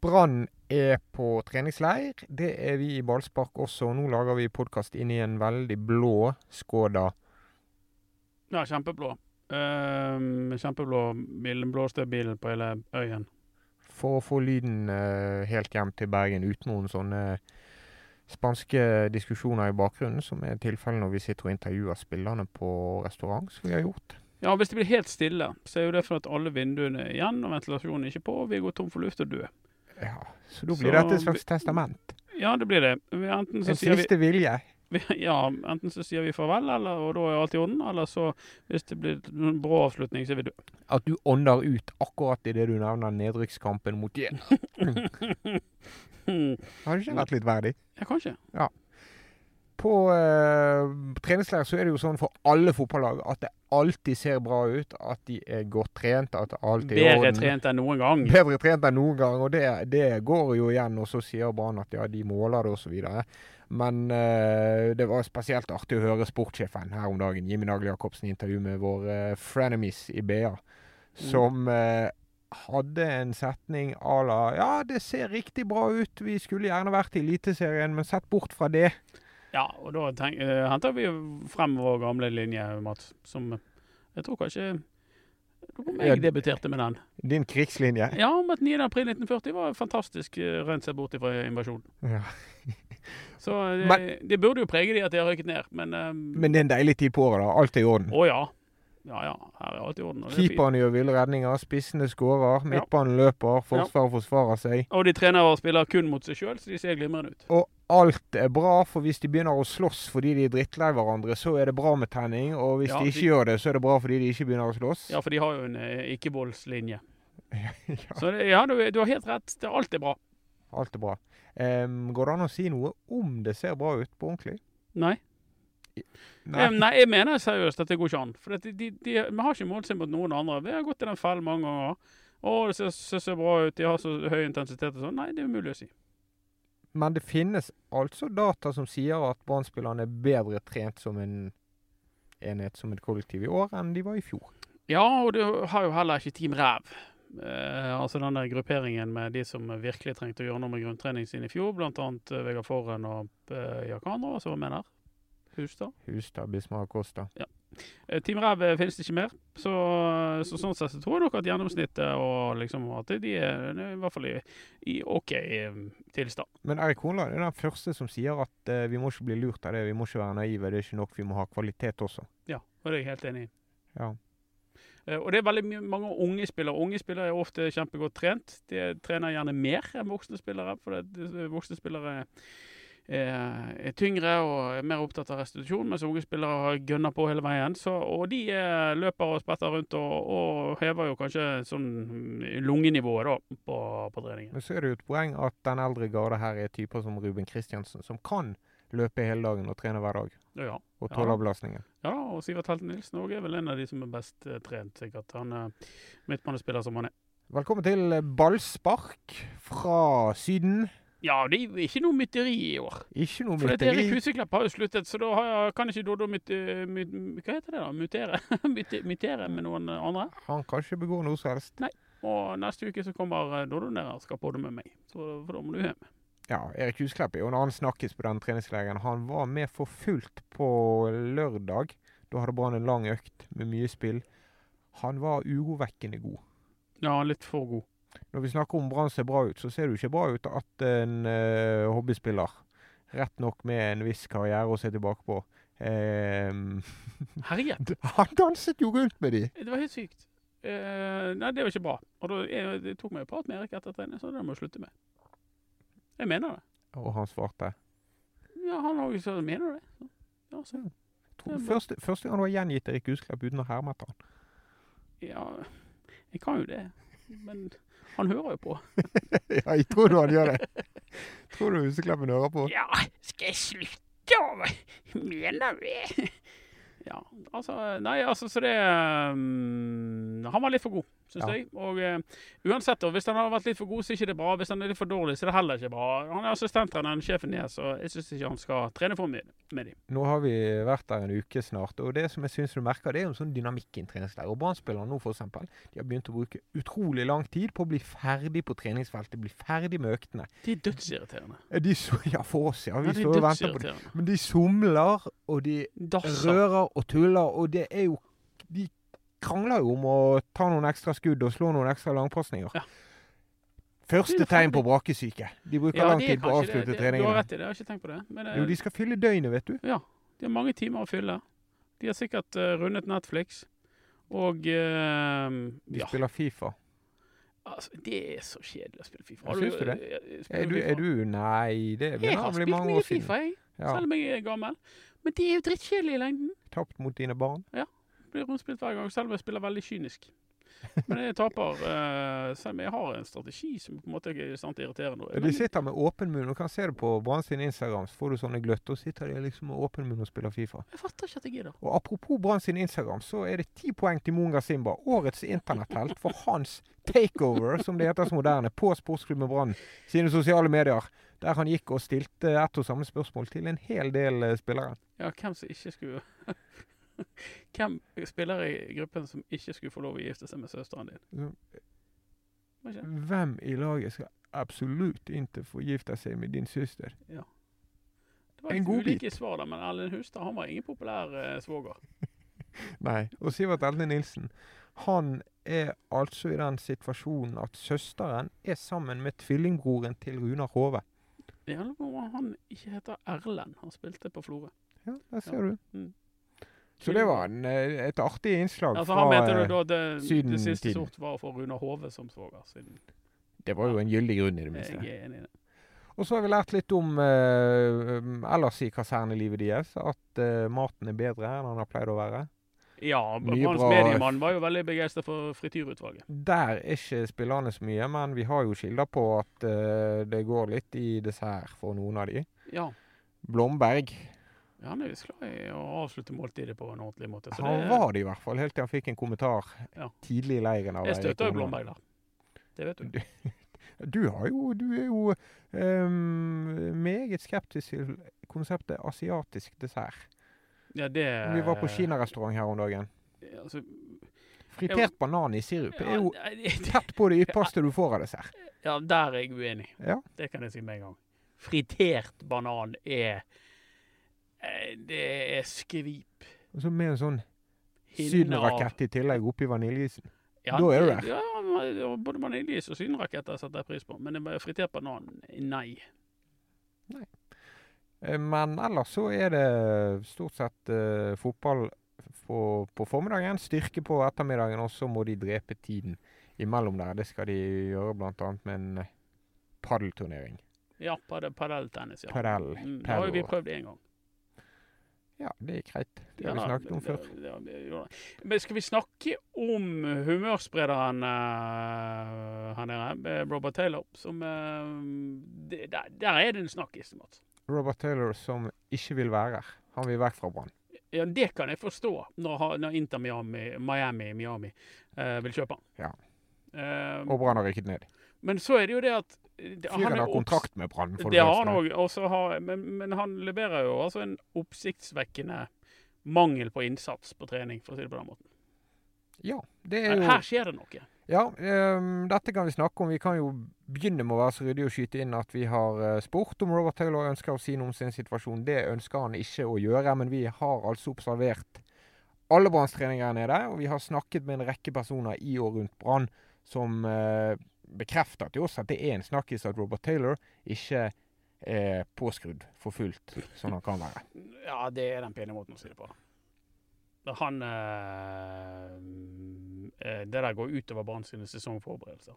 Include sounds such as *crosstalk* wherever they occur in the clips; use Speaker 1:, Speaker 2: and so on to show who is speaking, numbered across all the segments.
Speaker 1: Brann er på treningsleir. Det er vi i ballspark også. Nå lager vi podkast inni en veldig blå Skoda.
Speaker 2: Ja, kjempeblå. Ehm, kjempeblå. Den blåste bilen på hele øyen.
Speaker 1: For å få lyden eh, helt hjem til Bergen uten noen sånne spanske diskusjoner i bakgrunnen, som er tilfellet når vi sitter og intervjuer spillerne på restaurant, som vi har gjort.
Speaker 2: Ja, hvis det blir helt stille, så er jo det for at alle vinduene er igjen, og ventilasjonen er ikke på, og vi går tom for luft og dør.
Speaker 1: Ja, Så da blir
Speaker 2: Så
Speaker 1: dette et
Speaker 2: vi-
Speaker 1: slags testament.
Speaker 2: Ja, det blir det. Vi, enten så
Speaker 1: En
Speaker 2: sier vi
Speaker 1: siste vilje.
Speaker 2: vi, *laughs* ja, enten så sier vi farvel, eller, og da er alt i orden, eller så, hvis det blir en brå avslutning, så er vi døde.
Speaker 1: At du ånder ut akkurat idet du nevner nedrykkskampen mot Jen.
Speaker 2: Hmm.
Speaker 1: Har det ikke vært litt verdig?
Speaker 2: Ja, kanskje.
Speaker 1: På eh, treningsleir så er det jo sånn for alle fotballag at det alltid ser bra ut, at de er godt trent, at alt er i
Speaker 2: Bedre
Speaker 1: orden.
Speaker 2: trent enn noen gang.
Speaker 1: *laughs* Bedre trent enn noen gang, og det, det går jo igjen. Og så sier Brann at ja, de måler det, osv. Men eh, det var spesielt artig å høre sportssjefen her om dagen, Jimmy Nagel Jacobsen, i intervju med vår eh, frenemies i BA,
Speaker 2: Mm.
Speaker 1: som eh, hadde en setning à la Ja, det ser riktig bra ut, vi skulle gjerne vært i Eliteserien, men sett bort fra det.
Speaker 2: Ja, og da tenk, eh, henter vi frem vår gamle linje, Mats, som eh, jeg tror kanskje Det var
Speaker 1: Ja,
Speaker 2: jeg debuterte med den.
Speaker 1: Din krigslinje.
Speaker 2: Ja, om at 9. april 1940 var fantastisk eh, rent seg bort fra invasjonen.
Speaker 1: Ja.
Speaker 2: Så eh, det,
Speaker 1: Men-
Speaker 2: burde jo prege de at de har røyket ned, men eh,
Speaker 1: Men det er en deilig tid på året, da. Alt er i orden.
Speaker 2: Å ja. Ja ja, her er alt i orden. og det er fint.
Speaker 1: Keeperne gjør ville redninger, spissene skårer, midtbanen løper, forsvaret forsvarer seg.
Speaker 2: Og de trener og spiller kun mot seg sjøl, så de ser glimrende ut.
Speaker 1: Og alt er bra, for hvis de begynner å slåss fordi de er drittlei hverandre, så er det bra med tenning. Og hvis
Speaker 2: Ja,
Speaker 1: de
Speaker 2: de-
Speaker 1: ikke gjør det, så er det bra fordi de ikke begynner å slåss.
Speaker 2: Ja, for de har jo en eh, ikke-voldslinje.
Speaker 1: *laughs* Ja,
Speaker 2: Så det, ja, du, du har helt rett. Det, alt er bra.
Speaker 1: alt er bra. Em, går det an å si noe om det ser bra ut på ordentlig?
Speaker 2: Nei. Nei.
Speaker 1: Nei.
Speaker 2: Nei, jeg mener seriøst at det går ikke an. For at de, de, de, vi har ikke målt seg mot noen andre. Vi har gått i den fellen mange ganger. Å, det ser, ser så bra ut, de har så høy intensitet og sånn. Nei, det er umulig å si.
Speaker 1: Men det finnes altså data som sier at Brann-spillerne er bedre trent som en enhet, som et kollektiv, i år enn de var i fjor.
Speaker 2: Ja, og du har jo heller ikke Team Ræv. Eh, altså den der grupperingen med de som virkelig trengte å gjøre noe med grunntreningen sin i fjor, blant annet eh, Vegard Forhen og eh, Jack Andra, som var med der. Hustad.
Speaker 1: Hustad, Bismar Costa.
Speaker 2: Eh, Team Ræv eh, finnes det ikke mer. Så, så sånn sett så tror jeg nok at gjennomsnittet og liksom at de er i hvert fall i, i OK eh, tilstand.
Speaker 1: Men Erik Hornland er den første som sier at eh, vi må ikke bli lurt av det, vi må ikke være naive, det er ikke nok, vi må ha kvalitet også.
Speaker 2: Ja, og det er jeg helt enig i.
Speaker 1: Ja.
Speaker 2: Eh, Og det er veldig mye- mange unge spillere. Unge spillere er ofte kjempegodt trent. De trener gjerne mer enn voksne spillere, for det- det- voksne spillere er, er tyngre og er mer opptatt av restitusjon, mens unge spillere har gønner på hele veien. Så, og de eh, løper og spretter rundt og, og hever jo kanskje sånn mm, lungenivået da, på, på treningen.
Speaker 1: Men så er det jo et poeng at den eldre garde her er typer som Ruben Kristiansen, som kan løpe hele dagen og trene hver dag,
Speaker 2: Ja,
Speaker 1: og
Speaker 2: Ja.
Speaker 1: tåleavlastningen.
Speaker 2: ja og Sivert Helten Nilsen også er vel en av de som er best eh, trent, sikkert. Han er midtbanespiller som han er.
Speaker 1: Velkommen til eh, ballspark fra Syden.
Speaker 2: Ja, det er jo ikke noe mytteri i år.
Speaker 1: Ikke noe
Speaker 2: For at Erik
Speaker 1: mytteri.
Speaker 2: Huseklepp har jo sluttet, så da har jeg, kan ikke Doddo myt, myt, Hva heter det da? Mutere? *laughs* Myte- Mytere med noen andre.
Speaker 1: Han kan ikke begå noe som helst.
Speaker 2: Og neste uke så kommer Doddo ned og skal på det med meg. Så for da må du hjem.
Speaker 1: Ja, Erik Husklepp er jo en annen snakkis på den treningsleiren. Han var med for fullt på lørdag. Da hadde Brann en lang økt med mye spill. Han var urovekkende god.
Speaker 2: Ja, litt for god.
Speaker 1: Når vi snakker om Brann ser bra ut, så ser det jo ikke bra ut at en eh, hobbyspiller, rett nok med en viss karriere å se tilbake på eh, *laughs*
Speaker 2: Herje!
Speaker 1: Han danset jo rundt med de!
Speaker 2: Det var helt sykt. Eh, nei, det var ikke bra. Og da, jeg, det tok meg jo prat med Erik etter trening, så det må jeg slutte med. Jeg mener det.
Speaker 1: Og han svarte.
Speaker 2: Ja, han har jo sagt mener det. Ja, så,
Speaker 1: Tror- Første, første gang det var gjengitt Erik Husklepp uten å herme etter han.
Speaker 2: ja, jeg kan jo det. Men han hører jo på.
Speaker 1: *laughs* ja, jeg tror du han gjør det. *laughs* Tror du Huskleppen hører på?
Speaker 2: Ja, skal jeg slutte å mene *laughs* det? Ja, altså Nei, altså, så det um, Han var litt for god. syns
Speaker 1: Ja.
Speaker 2: jeg. Og eh, uansett, da, hvis han har vært litt for god, så er ikke det bra. Hvis han er litt for dårlig, så er det heller ikke bra. Han er assistenttreneren, sjefen deres, så jeg syns ikke han skal trene for mye med dem.
Speaker 1: Nå har vi vært der en uke snart, og det som jeg syns du merker, det er jo en sånn dynamikk i en treningsleir. Og Brann-spillerne nå, for eksempel, de har begynt å bruke utrolig lang tid på å bli ferdig på treningsfeltet, bli ferdig med øktene.
Speaker 2: De er dødsirriterende.
Speaker 1: Eh, De så, *laughs* ja, for oss, ja.
Speaker 2: Ja,
Speaker 1: Vi
Speaker 2: de
Speaker 1: står
Speaker 2: er
Speaker 1: og venter på det.
Speaker 2: dødsirriterende.
Speaker 1: Men de somler, og de
Speaker 2: Dasser.
Speaker 1: rører og tuller, og det er jo De krangler jo om å ta noen ekstra skudd og slå noen ekstra langpasninger.
Speaker 2: Ja.
Speaker 1: Første
Speaker 2: Det er
Speaker 1: tegn
Speaker 2: ferdig.
Speaker 1: på brakesyke. De bruker
Speaker 2: Ja,
Speaker 1: lang
Speaker 2: det er
Speaker 1: tid på å
Speaker 2: kanskje det.
Speaker 1: avslutte
Speaker 2: Det- Du har
Speaker 1: treningene.
Speaker 2: rett i det, jeg har ikke tenkt på det. Men eh,
Speaker 1: Jo, de skal fylle døgnet, vet du.
Speaker 2: Ja. De har mange timer å fylle. De har sikkert eh, rundet Netflix. Og eh,
Speaker 1: De
Speaker 2: ja.
Speaker 1: spiller Fifa.
Speaker 2: Altså, det er så kjedelig å spille Fifa.
Speaker 1: Ja, syns du det?
Speaker 2: eh, spiller
Speaker 1: Er du,
Speaker 2: FIFA?
Speaker 1: er du Nei, det
Speaker 2: Jeg
Speaker 1: begynner
Speaker 2: har
Speaker 1: å bli
Speaker 2: spilt
Speaker 1: mange
Speaker 2: mye
Speaker 1: år siden.
Speaker 2: Fifa, jeg.
Speaker 1: Ja,
Speaker 2: Selv om jeg er gammel. Men det er jo drittkjedelig i lengden.
Speaker 1: Tapt mot dine barn.
Speaker 2: Blir rundspilt hver gang, selv om jeg spiller veldig kynisk. Men jeg taper, eh, selv om jeg har en strategi som på en måte ikke er sant irriterer noe.
Speaker 1: De
Speaker 2: Men
Speaker 1: sitter med åpen munn. Du kan se det på Brann sin Instagram, så får du sånne gløtter. og sitter de liksom med åpen munn og spiller Fifa.
Speaker 2: jeg fatter ikke at jeg gidder.
Speaker 1: Og apropos Brann sin Instagram, så er det ti poeng til Munga Simba, årets internetthelt, for hans takeover, som det heter så moderne, på Sportsklubben Brann sine sosiale medier. Der han gikk og stilte ett og samme spørsmål til en hel del eh, spillere.
Speaker 2: Ja, hvem som ikke skulle *laughs* Hvem spiller i gruppen som ikke skulle få lov å gifte seg med søsteren din? Var ikke det?
Speaker 1: Hvem i laget skal absolutt ikke forgifte seg med din søster?
Speaker 2: Det var
Speaker 1: En
Speaker 2: litt
Speaker 1: god
Speaker 2: ulike svar da, men Erlend Hustad han var ingen populær eh, svoger.
Speaker 1: Nei. Og Sivert Elne Nilsen, han er altså i den situasjonen at søsteren er sammen med tvillingbroren til Runar Hove.
Speaker 2: Jeg lurer på om han ikke heter Erlend. Han spilte på Florø.
Speaker 1: Ja, der ser
Speaker 2: Ja.
Speaker 1: du.
Speaker 2: Mm.
Speaker 1: Så det var en, eh, et artig innslag
Speaker 2: Altså,
Speaker 1: fra
Speaker 2: han mente
Speaker 1: eh,
Speaker 2: du da det, det siste
Speaker 1: Sydentiden.
Speaker 2: sort var for Runar Hove som svoger, siden
Speaker 1: Det var jo en gyldig grunn, i det
Speaker 2: jeg
Speaker 1: minste.
Speaker 2: er enig i det.
Speaker 1: Og så har vi lært litt om eh, um, ellers i kasernelivet deres. At eh, maten er bedre enn den har pleid å være.
Speaker 2: Ja,
Speaker 1: Mye
Speaker 2: Branns
Speaker 1: bra-
Speaker 2: mediemann var jo veldig begeistra for frityrutvalget.
Speaker 1: Der er ikke spillerne så mye, men vi har jo kilder på at eh, det går litt i dessert for noen av de.
Speaker 2: Ja.
Speaker 1: Blomberg.
Speaker 2: ja, han er visst glad i å avslutte måltidet på en ordentlig måte. Så
Speaker 1: Han
Speaker 2: det,
Speaker 1: var det i hvert fall, helt til han fikk en kommentar
Speaker 2: Ja.
Speaker 1: tidlig i leiren. av
Speaker 2: jeg
Speaker 1: Eirik
Speaker 2: støtter jo
Speaker 1: Horneland.
Speaker 2: Blomberg der. Det vet du.
Speaker 1: Du, har jo, du er jo ehm, meget skeptisk til konseptet asiatisk dessert.
Speaker 2: Ja, det
Speaker 1: Vi var på
Speaker 2: Eh.
Speaker 1: kinarestaurant her om dagen.
Speaker 2: Altså,
Speaker 1: Fritert banan i sirup er jo
Speaker 2: ja, nei, det-
Speaker 1: tett på det ypperste du får av dessert.
Speaker 2: ja, der er jeg uenig.
Speaker 1: Ja.
Speaker 2: Det kan jeg si med en gang. Fritert banan er eh, Det er skvip.
Speaker 1: Og så med en sånn
Speaker 2: Hinne av-
Speaker 1: sydenrakett i tillegg oppi vaniljeisen.
Speaker 2: Ja,
Speaker 1: Da er du der.
Speaker 2: Ja, ja, både vaniljeis og sydenraketter setter jeg pris på, men det var fritert banan, nei.
Speaker 1: Eh, Men ellers så er det stort sett eh, fotball på, på formiddagen, styrke på ettermiddagen, og så må de drepe tiden imellom der. Det skal de gjøre bl.a. med en padelturnering.
Speaker 2: Ja, pad- padelltennis, ja.
Speaker 1: Padel.
Speaker 2: Mm, det har jo vi
Speaker 1: padel.
Speaker 2: prøvd én gang.
Speaker 1: Ja, det gikk greit. Det har
Speaker 2: Ja,
Speaker 1: vi snakket om
Speaker 2: det-
Speaker 1: før.
Speaker 2: det- det- det gjorde det. Men skal vi snakke om humørsprederen eh, her nede, eh, Robert Taylor, som eh, det, der, der er det en snakkis, Mats.
Speaker 1: Robert Taylor som ikke vil være her. Han vil vekk fra Brann.
Speaker 2: Ja, det kan jeg forstå, når, ha- når Inter Miami, Miami, Miami eh, vil kjøpe han.
Speaker 1: Ja.
Speaker 2: Eh,
Speaker 1: Og Brann har rykket ned.
Speaker 2: men så er det jo det at eh, det- han
Speaker 1: Fyren
Speaker 2: er
Speaker 1: har
Speaker 2: obs-
Speaker 1: kontrakt med Brann. for
Speaker 2: Det har han
Speaker 1: første.
Speaker 2: òg, og så har- men, men han leverer jo altså en oppsiktsvekkende mangel på innsats på trening, for å si det på den måten.
Speaker 1: Ja, det er
Speaker 2: Her,
Speaker 1: jo
Speaker 2: her skjer det noe.
Speaker 1: Ja, ehm, dette kan vi snakke om. Vi kan jo begynne med å være så ryddige og skyte inn at vi har eh, spurt om Robert Taylor ønsker å si noe om sin situasjon. Det ønsker han ikke å gjøre, men vi har altså observert alle Branns treninger her nede. Og vi har snakket med en rekke personer i og rundt Brann som eh, bekrefter til oss at det er en snakkis at Robert Taylor ikke er påskrudd for fullt, som han kan være.
Speaker 2: Ja, det er den pene måten å si det på. Da Han eh, eh, Det der går utover Brann sine sesongforberedelser.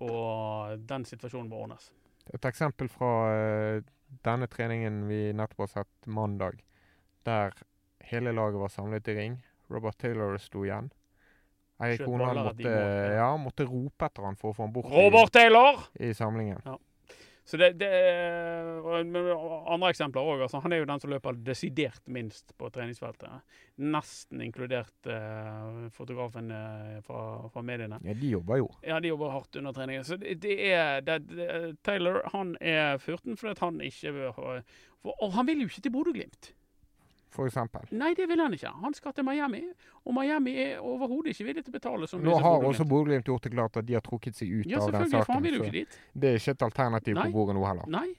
Speaker 2: Og den situasjonen må ordnes.
Speaker 1: Et eksempel fra eh, denne treningen vi nettopp har sett mandag, der hele laget var samlet i ring. Robert Taylor sto igjen. Eirik
Speaker 2: Skjøt
Speaker 1: Horneland
Speaker 2: baller at de
Speaker 1: måtte,
Speaker 2: må- ja.
Speaker 1: ja, måtte rope etter han for å få han bort i,
Speaker 2: Robert Taylor!
Speaker 1: i samlingen.
Speaker 2: Så det, det og- men Andre eksempler òg. Altså, han er jo den som løper desidert minst på treningsfeltet. Nesten inkludert eh, fotografen eh, fra, fra mediene.
Speaker 1: Ja, de jobber jo.
Speaker 2: Ja, de jobber hardt under treningen. Så det, det er det, det, Taylor han er 14 fordi at han ikke vil ha- for, Og han vil jo ikke til Bodø-Glimt.
Speaker 1: For eksempel.
Speaker 2: Nei, det vil han ikke. Han skal til Miami, og Miami er overhodet ikke villig til å betale som
Speaker 1: Nå
Speaker 2: disse
Speaker 1: har
Speaker 2: Bodø-Glimt.
Speaker 1: også Bodø-Glimt gjort det klart at de har trukket seg ut
Speaker 2: Ja,
Speaker 1: av den
Speaker 2: selvfølgelig, for han
Speaker 1: saken.
Speaker 2: vil jo
Speaker 1: så
Speaker 2: ikke dit.
Speaker 1: det er ikke et alternativ
Speaker 2: Nei.
Speaker 1: på bordet nå heller.
Speaker 2: Nei,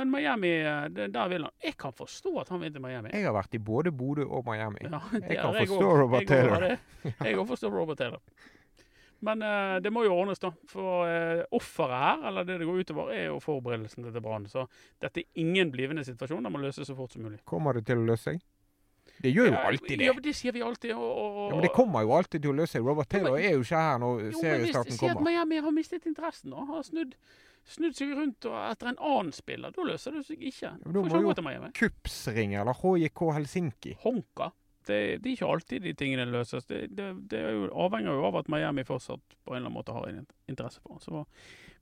Speaker 2: men Miami, eh, det, der vil han. Jeg kan forstå at han vil til Miami.
Speaker 1: Jeg har vært i både Bodø og Miami.
Speaker 2: Ja,
Speaker 1: kan
Speaker 2: det er- jeg
Speaker 1: forstå
Speaker 2: går-
Speaker 1: Robert
Speaker 2: jeg går
Speaker 1: Taylor.
Speaker 2: av det. Jeg òg forstår Robert Taylor. Men eh, det må jo ordnes, da. For eh, offeret her, eller det det går utover, er jo forberedelsene til Brann. Så dette er ingen blivende situasjon. Den må løses så fort som mulig.
Speaker 1: Kommer det til å løse seg? Det gjør jo alltid det.
Speaker 2: Ja, men det sier vi alltid. Og, og,
Speaker 1: Ja, men det kommer jo alltid til å løse seg. Robert
Speaker 2: Ja, men-
Speaker 1: Taylor er jo ikke her når
Speaker 2: Jo, men hvis-
Speaker 1: seriestarten
Speaker 2: Si at
Speaker 1: kommer.
Speaker 2: Miami har mistet interessen nå. Har snudd, snudd seg rundt og etter en annen spiller. Da løser det seg ikke.
Speaker 1: men da
Speaker 2: Får
Speaker 1: må
Speaker 2: ikke han
Speaker 1: jo-
Speaker 2: gå til Miami.
Speaker 1: Kupsring eller HJK Helsinki.
Speaker 2: Honka. Det, det er ikke alltid de tingene løses. Det, det, det er jo, avhenger jo av at Miami fortsatt på en eller annen måte har en in- interesse for ham. Så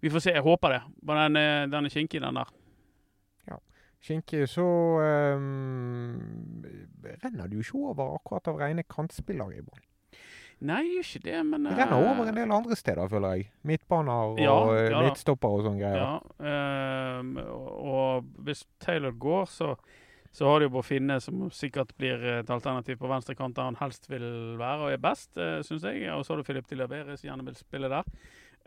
Speaker 2: vi får se. Jeg håper det. Men den, er- den er kinkig, den der.
Speaker 1: Skinke, så ehm, renner du ikke over akkurat av rene kantspillere i Brann.
Speaker 2: Nei, det gjør ikke det, men
Speaker 1: Det renner
Speaker 2: eh,
Speaker 1: over en del andre steder, føler jeg. Midtbaner og
Speaker 2: Ja,
Speaker 1: eh,
Speaker 2: ja da.
Speaker 1: midtstopper og sånne greier.
Speaker 2: Ja, ehm, og- og hvis Taylor går, så, så har de jo Bofinne, som sikkert blir et alternativ på venstre kant, der han helst vil være og er best, uh, syns jeg. Og så har du Filip Tillaveres, som gjerne vil spille der.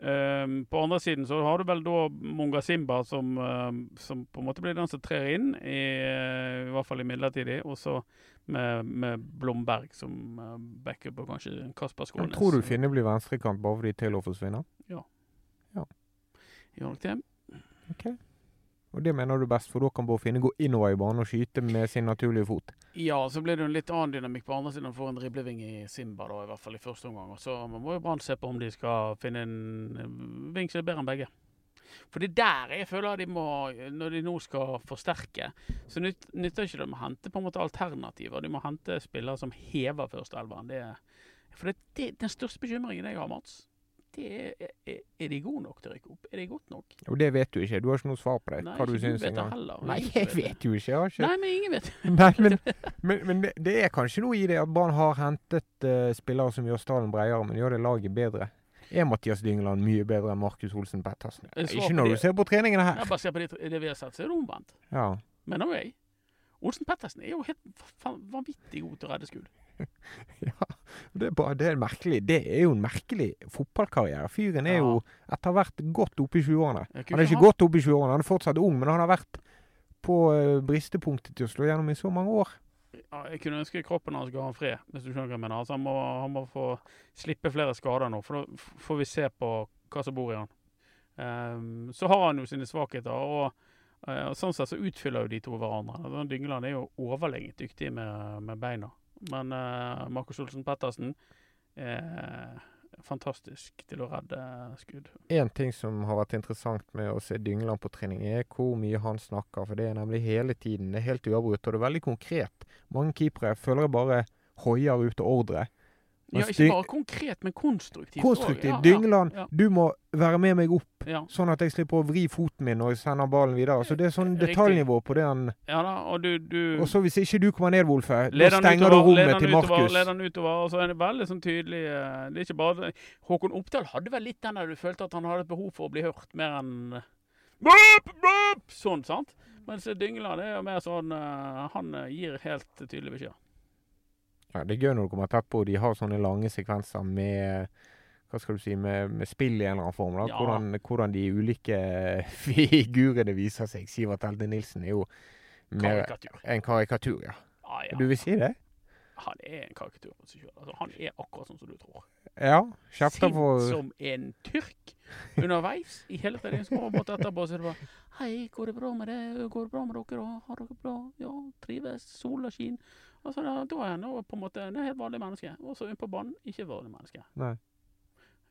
Speaker 2: Ehm, på andre siden så har du vel da Munga Simba, som, ehm, som på en måte blir den som trer inn, i, i hvert fall i midlertidig. Og så med, med Blomberg som uh, backup, og kanskje Kasper
Speaker 1: Men
Speaker 2: Skånes.
Speaker 1: Tror du Finne blir venstrekant bare fordi Taylor forsvinner?
Speaker 2: Gjør nok det.
Speaker 1: Og det mener du best, for da kan Bård Finne gå innover i banen og skyte med sin naturlige fot.
Speaker 2: Ja, så blir det jo en litt annen dynamikk på andre siden. Han får en dribleving i Simba, da, i hvert fall i første omgang. Og så må jo Brann se på om de skal finne en ving som er bedre enn begge. For det er der jeg føler de må, når de nå skal forsterke, så nyt, nytter ikke det å hente på en måte alternativer. De må hente spillere som hever førsteelveren. Det, er- for det, det, den største bekymringen jeg har, Mats, det er er, er de gode nok til å rykke opp. Er de godt nok?
Speaker 1: Og det vet du ikke. Du har ikke noe svar på det. hva
Speaker 2: ikke
Speaker 1: du syns
Speaker 2: vet det
Speaker 1: engang.
Speaker 2: heller.
Speaker 1: Nei,
Speaker 2: Ingen
Speaker 1: jeg
Speaker 2: vet det.
Speaker 1: vet jo ikke. Jeg har ikke
Speaker 2: Nei, men ingen vet det.
Speaker 1: *laughs* Nei, men,
Speaker 2: *laughs*
Speaker 1: men, men det, det er kanskje noe i det at Brann har hentet eh, spillere som gjør stallen bredere, men gjør det laget bedre. Er Mathias Dyngeland mye bedre enn Markus Olsen Pettersen?
Speaker 2: Jeg svarer
Speaker 1: Ikke
Speaker 2: på
Speaker 1: når
Speaker 2: det.
Speaker 1: du ser på treningene her.
Speaker 2: Ja, Basert på det, det vi har sett, så er det omvendt.
Speaker 1: Ja. *laughs*
Speaker 2: Men òg jeg. Olsen Pettersen er jo helt fa- fa- vanvittig god til å redde skudd.
Speaker 1: ja. Det, er bare, det, er merkelig. det er jo en merkelig fotballkarriere. Fyren er
Speaker 2: Ja.
Speaker 1: jo etter hvert godt oppe i 20-årene.
Speaker 2: Jeg kunne
Speaker 1: Han er ikke
Speaker 2: ha-
Speaker 1: godt oppe i 20-årene, han er fortsatt ung, men han har vært på eh, bristepunktet til å slå gjennom i så mange år.
Speaker 2: Ja, jeg kunne ønske kroppen hans ga han fred, hvis du skjønner hva jeg mener. Altså, han, må, han må få slippe flere skader nå, for da f- får vi se på hva som bor i han. Ehm, så har han jo sine svakheter, og, eh, og sånn sett så utfyller jo de to hverandre. Altså, Dyngeland er jo overlegent dyktig med, med beina, men eh, Markus Olsen Pettersen er fantastisk til å redde skudd.
Speaker 1: En ting som har vært interessant med å se Dyngeland på trening, er hvor mye han snakker. For det er nemlig hele tiden. Det er helt uavbrutt, og det er veldig konkret. Mange keepere føler jeg bare hoier ut og ordre.
Speaker 2: Ja,
Speaker 1: Mens
Speaker 2: ikke
Speaker 1: Altså, Dyng-
Speaker 2: bare konkret, men konstruktivt. også.
Speaker 1: Konstruktiv.
Speaker 2: Ja, ja,
Speaker 1: Dyngeland,
Speaker 2: ja.
Speaker 1: du må være med meg opp,
Speaker 2: Ja,
Speaker 1: sånn at jeg slipper å vri foten min når jeg sender ballen videre. Så det er sånn detaljnivå på det han
Speaker 2: ja da, og du, du
Speaker 1: Og så hvis ikke du kommer ned, Wolfe, da
Speaker 2: leder han
Speaker 1: stenger du
Speaker 2: Mm. utover, leder
Speaker 1: rommet
Speaker 2: han
Speaker 1: til
Speaker 2: utover,
Speaker 1: Markus.
Speaker 2: Leder han utover, og så er det veldig sånn tydelig eh, Det er ikke bare Håkon Oppdal hadde vel litt den der du følte at han hadde et behov for å bli hørt, mer enn eh, «Blup, blup», Sånn, sant? Mens Dyngeland er jo mer sånn eh, Han eh, gir helt tydelig beskjed.
Speaker 1: Ja, det er gøy når du kommer tett på. De har sånne lange sekvenser med hva skal du si, med, med spill i en eller annen form. Da.
Speaker 2: Ja.
Speaker 1: Hvordan, hvordan de ulike *laughs* figurene viser seg. Sivert Elde Nilsen er jo mer
Speaker 2: Karikatur.
Speaker 1: en karikatur, ja.
Speaker 2: Ja, ja.
Speaker 1: Du vil si det?
Speaker 2: Han er en karikatur på seg sjøl. Altså, han er akkurat sånn som du tror.
Speaker 1: Ja. Kjefter
Speaker 2: Sint
Speaker 1: på
Speaker 2: som en tyrk underveis i hele tiden. Så kommer han bort etterpå så er det bare Hei, går det bra med det? Går det bra med dere? Og Har dere bra? Ja, trives? Sol og skin? Og så da, da er han jo på en måte et helt vanlig menneske. Og så inn på banen, ikke vanlig menneske.
Speaker 1: Nei.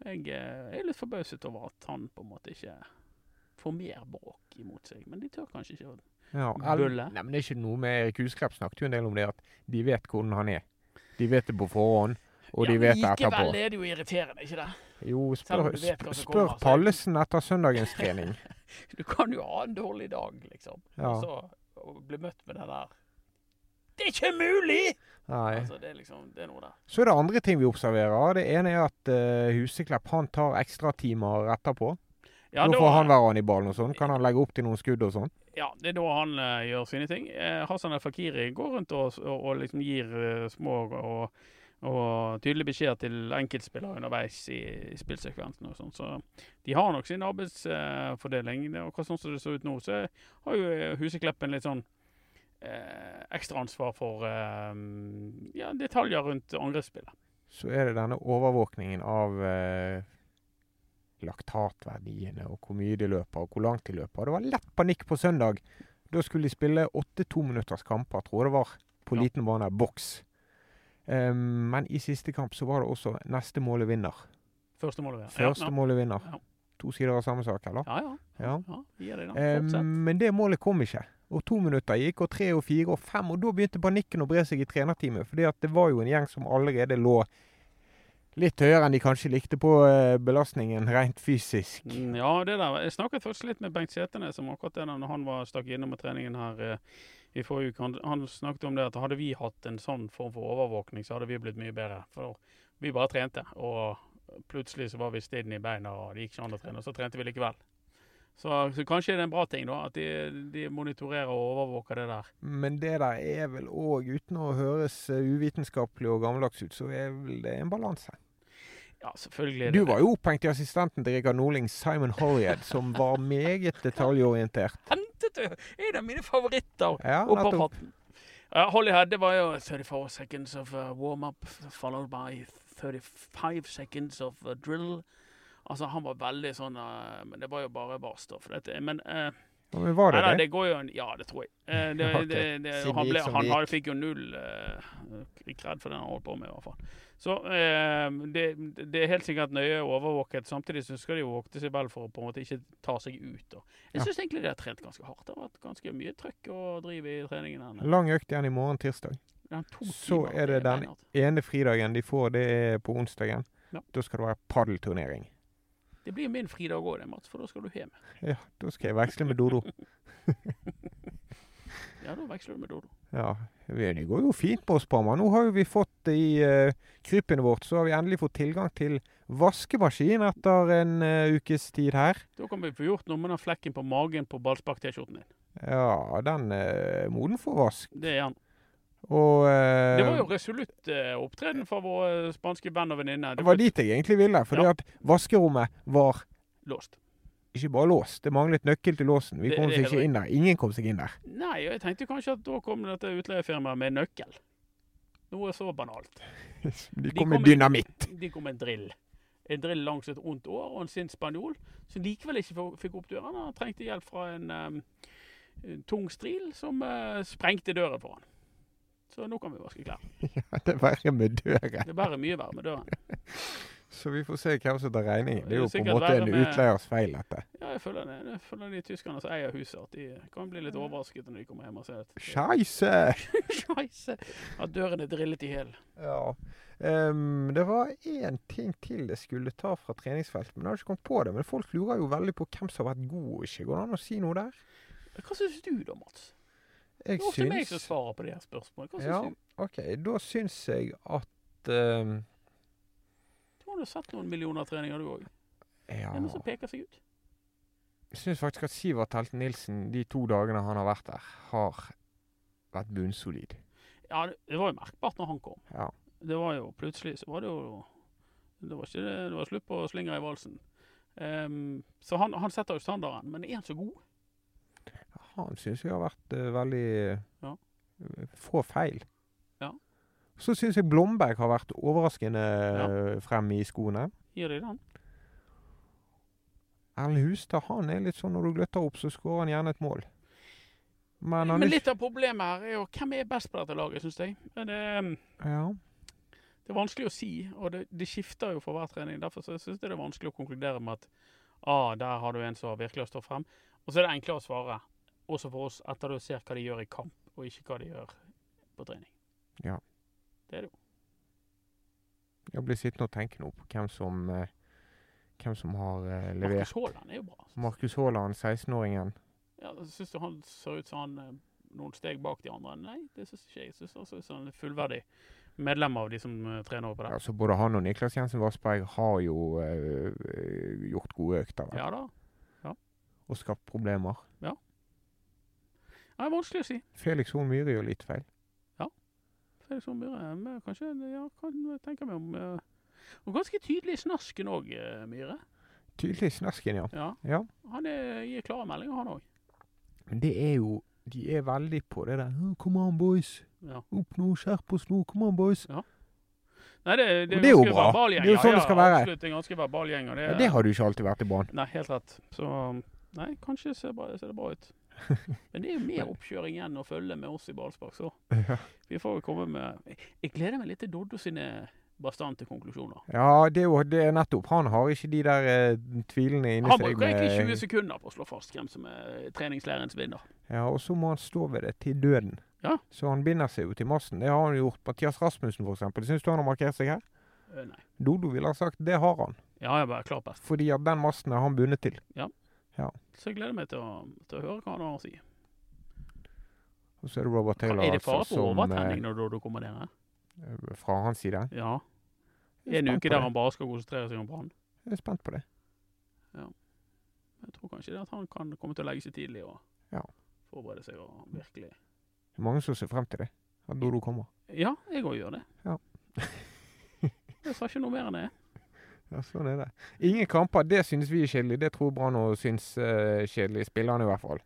Speaker 2: Jeg eh, er litt forbauset over at han på en måte ikke får mer bråk imot seg. Men de tør kanskje ikke.
Speaker 1: ja, Elde-
Speaker 2: Bølle.
Speaker 1: Nei, men det er ikke noe med Erik Husklepp snakket jo en del om det, at de vet hvordan han er. De vet det på forhånd, og de vet det
Speaker 2: Likevel
Speaker 1: etterpå.
Speaker 2: er det jo irriterende, ikke det?
Speaker 1: Jo,
Speaker 2: Selv om
Speaker 1: spør,
Speaker 2: du vet hva
Speaker 1: sp-
Speaker 2: som
Speaker 1: spør
Speaker 2: kommer, så-
Speaker 1: Pallesen etter søndagens
Speaker 2: *laughs*
Speaker 1: trening.
Speaker 2: Du kan jo ha en dårlig dag, liksom.
Speaker 1: Ja.
Speaker 2: Og så å bli møtt med den der Det er ikke mulig!
Speaker 1: Nei.
Speaker 2: Altså, det er liksom Det er noe der.
Speaker 1: Så er det andre ting vi observerer. Det ene er at eh, Huseklepp han tar ekstratimer etterpå.
Speaker 2: Ja,
Speaker 1: Nå
Speaker 2: da-
Speaker 1: får han være annibalen og sånn. Kan han legge opp til noen skudd og sånn?
Speaker 2: Ja, det er da han eh, gjør sine ting. Eh, Hassan al-Fakiri går rundt og, og, og liksom gir eh, små og, og tydelige beskjeder til enkeltspillere underveis i, i spillsekvensen og sånn. Så de har nok sin arbeidsfordeling. Det er Akkurat sånn som det ser ut nå, så har jo eh, Husekleppen litt sånn eh, ekstra ansvar for eh, ja, detaljer rundt angrepsspillet.
Speaker 1: Så er det denne overvåkningen av eh, laktatverdiene og hvor mye de løper og hvor langt de løper. Det var lett panikk på søndag. Da skulle de spille åtte tominutters kamper, tror jeg det var, på
Speaker 2: Ja.
Speaker 1: liten bane, boks. Eh, men i siste kamp så var det også neste målet vinner.
Speaker 2: Første målet. ja.
Speaker 1: Første målet vinner.
Speaker 2: Ja.
Speaker 1: To sider av samme sak, eller?
Speaker 2: Ja, ja.
Speaker 1: Ja.
Speaker 2: ja vi gir det, da.
Speaker 1: Eh,
Speaker 2: Fortsett.
Speaker 1: men det målet kom ikke. Og to minutter gikk, og tre og fire og fem, og da begynte panikken å bre seg i trenerteamet. fordi at det var jo en gjeng som allerede lå litt høyere enn de kanskje likte på eh, belastningen rent fysisk.
Speaker 2: Mm, Ja, det der. Jeg snakket faktisk litt med Bengt Seternes om akkurat det der når han var, stakk innom med treningen her eh, i forrige uke. Han, han snakket om det at hadde vi hatt en sånn form for overvåkning, så hadde vi blitt mye bedre. For vi bare trente, og plutselig så var vi stidden i beina, og det gikk ikke an å trene. Og så trente vi likevel. Så, så kanskje det er en bra ting, da, at de, de monitorerer og overvåker det der.
Speaker 1: Men det der er vel òg, uten å høres eh, uvitenskapelig og gammeldags ut, så er vel det en balanse.
Speaker 2: Ja, selvfølgelig. er
Speaker 1: Du
Speaker 2: det *laughs*
Speaker 1: var jo opphengt i assistenten til Rikard Norling, Simon Holliad, som var meget detaljorientert.
Speaker 2: det. Det er en av mine favoritter.
Speaker 1: Ja,
Speaker 2: Opp av
Speaker 1: nettopp.
Speaker 2: hatten. Ja, Holly Head, det var jo 34 seconds of uh, warm-up followed by 35 seconds of uh, drill. Altså, han var veldig sånn uh, Men det var jo bare barstoff. Dette. Men eh,
Speaker 1: Ja, Men var
Speaker 2: nei,
Speaker 1: det
Speaker 2: nei,
Speaker 1: det?
Speaker 2: det går jo en Ja, det tror jeg. Eh, det,
Speaker 1: Ok.
Speaker 2: det, det,
Speaker 1: Siden
Speaker 2: han
Speaker 1: det
Speaker 2: ble,
Speaker 1: gikk som
Speaker 2: han
Speaker 1: det
Speaker 2: hadde, fikk jo null uh, kred for det han holdt på med, i hvert fall. Så eh, det, det er helt sikkert nøye overvåket. Samtidig så skal de jo vokte seg vel for å på en måte ikke ta seg ut. Da.
Speaker 1: Ja.
Speaker 2: Jeg syns egentlig de har trent ganske hardt. Det har vært ganske mye trøkk og driv i treningen. her.
Speaker 1: Lang økt igjen i morgen, tirsdag.
Speaker 2: Ja, to
Speaker 1: Så
Speaker 2: timer,
Speaker 1: er det den-
Speaker 2: beinhardt.
Speaker 1: ene fridagen de får, det er på onsdagen.
Speaker 2: Ja.
Speaker 1: Da skal det være paddelturnering.
Speaker 2: Det blir min fridag òg, Mats, for da skal du hjem.
Speaker 1: Ja, da skal jeg veksle med
Speaker 2: *laughs*
Speaker 1: Dodo.
Speaker 2: Ja, da veksler du med Dodo.
Speaker 1: Ja, vi- Det går jo fint på oss, Parma. Nå har jo vi fått i uh, krypene vårt, så har vi endelig fått tilgang til vaskemaskin etter en eh, ukes tid her.
Speaker 2: Da kan vi få gjort noe med den flekken på magen på ballspark-T-skjorten din.
Speaker 1: Ja, den er moden for vask.
Speaker 2: Det er han.
Speaker 1: Og eh,
Speaker 2: Det var jo resolutt eh, opptreden fra vår eh, spanske venn og venninne.
Speaker 1: det
Speaker 2: Det
Speaker 1: var
Speaker 2: var
Speaker 1: dit jeg egentlig ville, fordi
Speaker 2: Ja.
Speaker 1: at vaskerommet var
Speaker 2: låst.
Speaker 1: ikke bare låst, det manglet nøkkel til låsen. Vi
Speaker 2: Det-
Speaker 1: kom
Speaker 2: det
Speaker 1: oss
Speaker 2: er helt
Speaker 1: ikke inn der. Ingen kom seg inn
Speaker 2: *laughs*
Speaker 1: der.
Speaker 2: Nei, og jeg tenkte kanskje at da kom dette utleiefirmaet med nøkkel. Noe så banalt.
Speaker 1: De
Speaker 2: kom
Speaker 1: kom med
Speaker 2: inn-
Speaker 1: dynamitt. *laughs*
Speaker 2: De kom med en drill. En drill langs et ondt år og en sint spanjol som likevel ikke få- fikk opp døren. Han trengte hjelp fra en, em, en tung stril som eh, sprengte døren for han. Så nå kan vi vaske klær.
Speaker 1: Ja, det er verre med døren.
Speaker 2: Det bærer mye verre med døren.
Speaker 1: Så vi får se hvem som tar regningen. Det er jo på en
Speaker 2: Sikkert
Speaker 1: måte
Speaker 2: være
Speaker 1: en
Speaker 2: med-
Speaker 1: utleiers feil, dette.
Speaker 2: Ja, jeg føler det. Jeg føler de tyskerne som eier huset, at de kan bli litt overrasket når de kommer hjem og ser at
Speaker 1: Scheisse!
Speaker 2: Scheisse! At døren er drillet i hæl.
Speaker 1: Ja. Ehm, det var én ting til jeg skulle ta fra treningsfeltet, men jeg har ikke kommet på det. Men folk lurer jo veldig på hvem som har vært god og ikke. Går det an å si noe der?
Speaker 2: Hva syns du da, Mats? Det
Speaker 1: Jeg
Speaker 2: er ofte meg som
Speaker 1: syns
Speaker 2: svarer på de her spørsmålene. Hva syns
Speaker 1: Ja.
Speaker 2: du?
Speaker 1: OK, da syns jeg at ehm,
Speaker 2: Du har jo sett noen millioner treninger, du òg.
Speaker 1: Ja.
Speaker 2: Er det noe som peker seg ut?
Speaker 1: Jeg syns faktisk at Sivert Helten Nilsen, de to dagene han har vært der, har vært bunnsolid.
Speaker 2: Ja, det- det var jo merkbart når han kom.
Speaker 1: Ja.
Speaker 2: Det var jo plutselig så var det jo Det var ikke det, det var slutt på slinger i valsen. Ehm, så han, han setter jo standarden. Men er han så god?
Speaker 1: Han syns jeg har vært eh, veldig
Speaker 2: Ja.
Speaker 1: eh, Få feil.
Speaker 2: Ja.
Speaker 1: Så syns jeg Blomberg har vært overraskende eh, frem i skoene.
Speaker 2: Gir de den?
Speaker 1: Erlend Hustad han er litt sånn når du gløtter opp, så skårer han gjerne et mål. Men han
Speaker 2: Men
Speaker 1: er
Speaker 2: litt av problemet her er jo hvem er best på dette laget, syns jeg. Men, ehm,
Speaker 1: ikke ja.
Speaker 2: Det er vanskelig å si, og det, det skifter jo for hver trening. Derfor så syns jeg det er vanskelig å konkludere med at ah, der har du en som virkelig har stått frem. Og så er det enklere å svare, også for oss, etter du ser hva de gjør i kamp, og ikke hva de gjør på trening.
Speaker 1: Jeg blir sittende og tenke nå på hvem som eh, hvem som har eh, levert.
Speaker 2: Markus Haaland er jo bra. altså.
Speaker 1: Markus Haaland, 16-åringen.
Speaker 2: Ja, Syns du han ser ut som han eh, noen steg bak de andre? Nei, det syns ikke jeg. Jeg syns han ser ut som han er fullverdig medlem av de som eh, trener over der.
Speaker 1: Altså, både han og Niklas Jensen Vassberg har jo eh, gjort gode økter vel,
Speaker 2: Ja da.
Speaker 1: og skapt problemer.
Speaker 2: Ja, Det er vanskelig å si.
Speaker 1: Felix Horn Myhre gjør litt feil.
Speaker 2: Felix Horn Myhre eh, men kanskje Ja, kan tenke meg om eh, Og ganske tydelig i snasken òg, Myhre.
Speaker 1: Tydelig snasken, ja.
Speaker 2: Ja.
Speaker 1: Ja.
Speaker 2: Han er, gir klare meldinger, han òg.
Speaker 1: Men det er jo De er veldig på det der. «Åh, Come on, boys.
Speaker 2: Ja.
Speaker 1: Opp nå, skjerp oss nå. Come on, boys.
Speaker 2: Nei, det,
Speaker 1: Og det er jo
Speaker 2: ganske
Speaker 1: bra.
Speaker 2: verbal gjeng.
Speaker 1: Det er jo
Speaker 2: Ja,
Speaker 1: sånn det
Speaker 2: ja,
Speaker 1: skal være.
Speaker 2: Absolutt en ganske verbal gjeng. Og det,
Speaker 1: Ja, det har du ikke alltid vært i Brann.
Speaker 2: Nei, helt rett. Så Nei, kanskje ser, bra, ser det bra
Speaker 1: *laughs*
Speaker 2: ut. Men det er jo mer oppkjøring igjen å følge med oss i ballspark, så.
Speaker 1: Ja.
Speaker 2: Vi får jo komme med Jeg gleder meg litt til Doddo sine bastante konklusjoner.
Speaker 1: Ja, det er jo det er nettopp. Han har ikke de der eh, tvilene inni
Speaker 2: Han
Speaker 1: seg.
Speaker 2: bruker egentlig
Speaker 1: med-
Speaker 2: 20 sekunder på å slå fast hvem som er treningsleirens vinner.
Speaker 1: Ja, Og så må han stå ved det til døden.
Speaker 2: Ja.
Speaker 1: Så han binder seg jo til massen. Det har han gjort. Mathias Rasmussen, for eksempel. Syns du han har markert seg her?
Speaker 2: Eh, Nei.
Speaker 1: Dodo ville ha sagt det har han.
Speaker 2: Ja, jeg er bare klar best.
Speaker 1: Fordi at den massen er han bundet til.
Speaker 2: Så jeg gleder meg til å, til å høre hva han har å si.
Speaker 1: Og så er det Robert Taylor
Speaker 2: Er det
Speaker 1: altså,
Speaker 2: fare for
Speaker 1: som,
Speaker 2: overtenning når Doddo kommer ned? her?
Speaker 1: eh, Fra hans side.
Speaker 2: Ja.
Speaker 1: Jeg er
Speaker 2: En
Speaker 1: spent
Speaker 2: uke
Speaker 1: på
Speaker 2: der
Speaker 1: det.
Speaker 2: han bare skal konsentrere seg om Brann.
Speaker 1: Jeg er spent på det.
Speaker 2: Jeg tror kanskje det at han kan komme til å legge seg tidlig og
Speaker 1: Ja.
Speaker 2: forberede seg og virkelig
Speaker 1: Det er mange som ser frem til det. At Dodo kommer.
Speaker 2: Ja, jeg òg gjør det.
Speaker 1: Ja.
Speaker 2: jeg sa ikke noe mer enn det.
Speaker 1: Ja, sånn er det. Ingen kamper. Det syns vi er kjedelig. Det tror Brann og syns eh, kjedelig. Spillerne i hvert fall.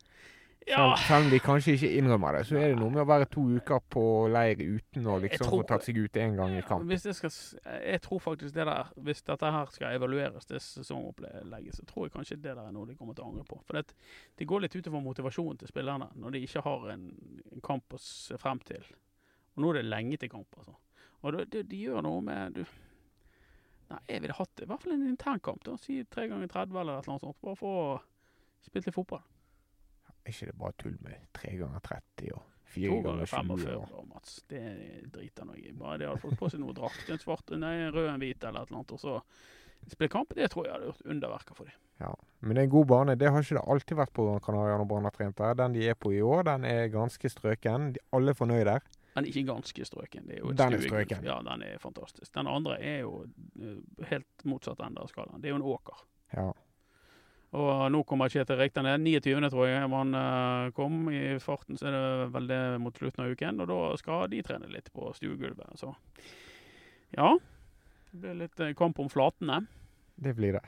Speaker 2: Ja,
Speaker 1: Selv- Selv om de kanskje ikke innrømmer det, så er det noe med å være to uker på leir uten å
Speaker 2: Jeg
Speaker 1: liksom
Speaker 2: tror-
Speaker 1: få tatt seg ut én gang i kamp.
Speaker 2: hvis jeg, skal, s- jeg tror faktisk det der Hvis dette her skal evalueres til sesongopplegget, så tror jeg kanskje det der er noe de kommer til å angre på. For det, det går litt utover motivasjonen til spillerne når de ikke har en, en kamp å se frem til. Og nå er det lenge til kamp, altså. Og det, det, de gjør noe med du, Nei, jeg ville hatt i hvert fall en internkamp. da, Si tre ganger 30 eller et eller annet sånt. Bare for å spille litt fotball.
Speaker 1: Er ikke det bare tull med tre ganger 30 og fire
Speaker 2: To ganger
Speaker 1: ganger 20?
Speaker 2: 45
Speaker 1: og-
Speaker 2: år, Mats. Det driter han i. Bare det hadde fått på seg noe drakt. En svart, nei, en rød, en hvit eller et eller annet. Og så spille kamp. Det tror jeg hadde gjort underverker for dem.
Speaker 1: Ja. Men en god bane det har ikke det alltid vært på Gran Canaria når Brann har trent der. Den de er på i år, den er ganske strøken. De alle er fornøyd der.
Speaker 2: Den er ikke ganske strøken. Det er jo et
Speaker 1: Den er
Speaker 2: skuegulv.
Speaker 1: strøken.
Speaker 2: Ja, den er fantastisk. Den andre er jo eh, helt motsatt ende av skalaen. Det er jo en åker.
Speaker 1: Ja.
Speaker 2: Og nå kommer Kjetil Rekdal ned. 29. tror jeg han eh, kom. I farten så er det vel det mot slutten av uken, og da skal de trene litt på stuegulvet. Så ja. Det blir litt eh, kamp om flatene.
Speaker 1: Det blir det.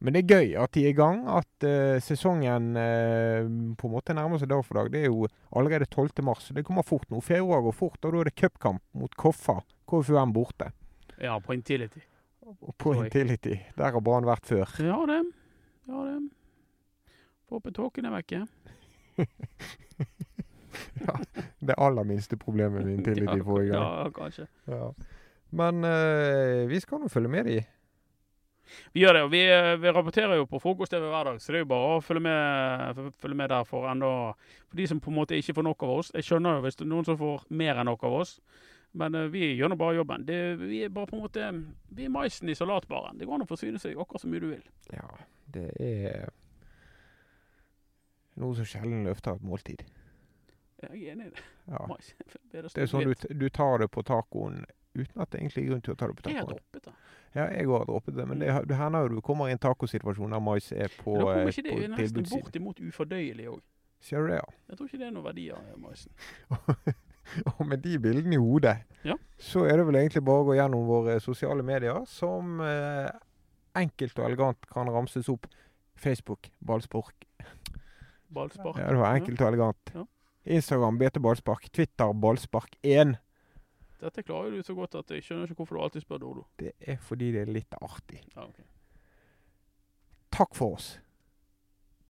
Speaker 1: Men det er gøy at de er i gang, at eh, sesongen eh, på en måte nærmer seg dag for dag. Det er jo allerede 12. mars, så det kommer fort nå. Februar går fort, og da er det cupkamp mot Koffa. KFUM borte.
Speaker 2: Ja, på Intility.
Speaker 1: Og på
Speaker 2: Oi.
Speaker 1: Intility. Der har Brann vært før.
Speaker 2: Ja det. Ja det. Får håpe tåken er vekke.
Speaker 1: Det aller minste problemet med Intility forrige gang.
Speaker 2: *laughs* Ja, kanskje.
Speaker 1: Ja. Men eh, vi skal nå følge med de.
Speaker 2: Vi gjør det, og vi, vi rapporterer jo på frokost-TV hver dag, så det er jo bare å følge med, følge med der for enda For de som på en måte ikke får nok av oss. Jeg skjønner jo hvis det er noen som får mer enn nok av oss, men eh, vi gjør nå bare jobben. Det, vi er bare på en måte Vi er maisen i salatbaren. Det går an å forsyne seg akkurat så mye du vil.
Speaker 1: Ja, det er noe som sjelden løfter et måltid.
Speaker 2: Jeg er enig i det.
Speaker 1: Ja.
Speaker 2: Mais. Bedre
Speaker 1: Det er sånn du,
Speaker 2: stort
Speaker 1: t- du tar det på tacoen uten at det egentlig er grunn til å ta det på
Speaker 2: hvitt. Jeg har
Speaker 1: tacoen.
Speaker 2: droppet det.
Speaker 1: Ja, jeg har droppet det, men det, har- det hender jo du kommer i en tacosituasjon der mais er på,
Speaker 2: Men
Speaker 1: eh,
Speaker 2: Da kommer ikke det
Speaker 1: på
Speaker 2: nesten
Speaker 1: tilbudssiden.
Speaker 2: bortimot ufordøyelig òg.
Speaker 1: Ser du det, ja? *laughs*
Speaker 2: Jeg tror ikke det er noen verdier av maisen.
Speaker 1: Og med de bildene i hodet,
Speaker 2: Ja.
Speaker 1: så er det vel egentlig bare å gå gjennom våre sosiale medier, som eh, enkelt og elegant kan ramses opp. Facebook, ballspark.
Speaker 2: Ballspark.
Speaker 1: Ja, det var enkelt og elegant.
Speaker 2: Ja.
Speaker 1: Instagram, BT Ballspark. Twitter, Ballspark1.
Speaker 2: Dette klarer jo du så godt at jeg skjønner ikke hvorfor du alltid spør Dodo.
Speaker 1: Det er fordi det er litt artig.
Speaker 2: Ja, ok.
Speaker 1: Takk for oss.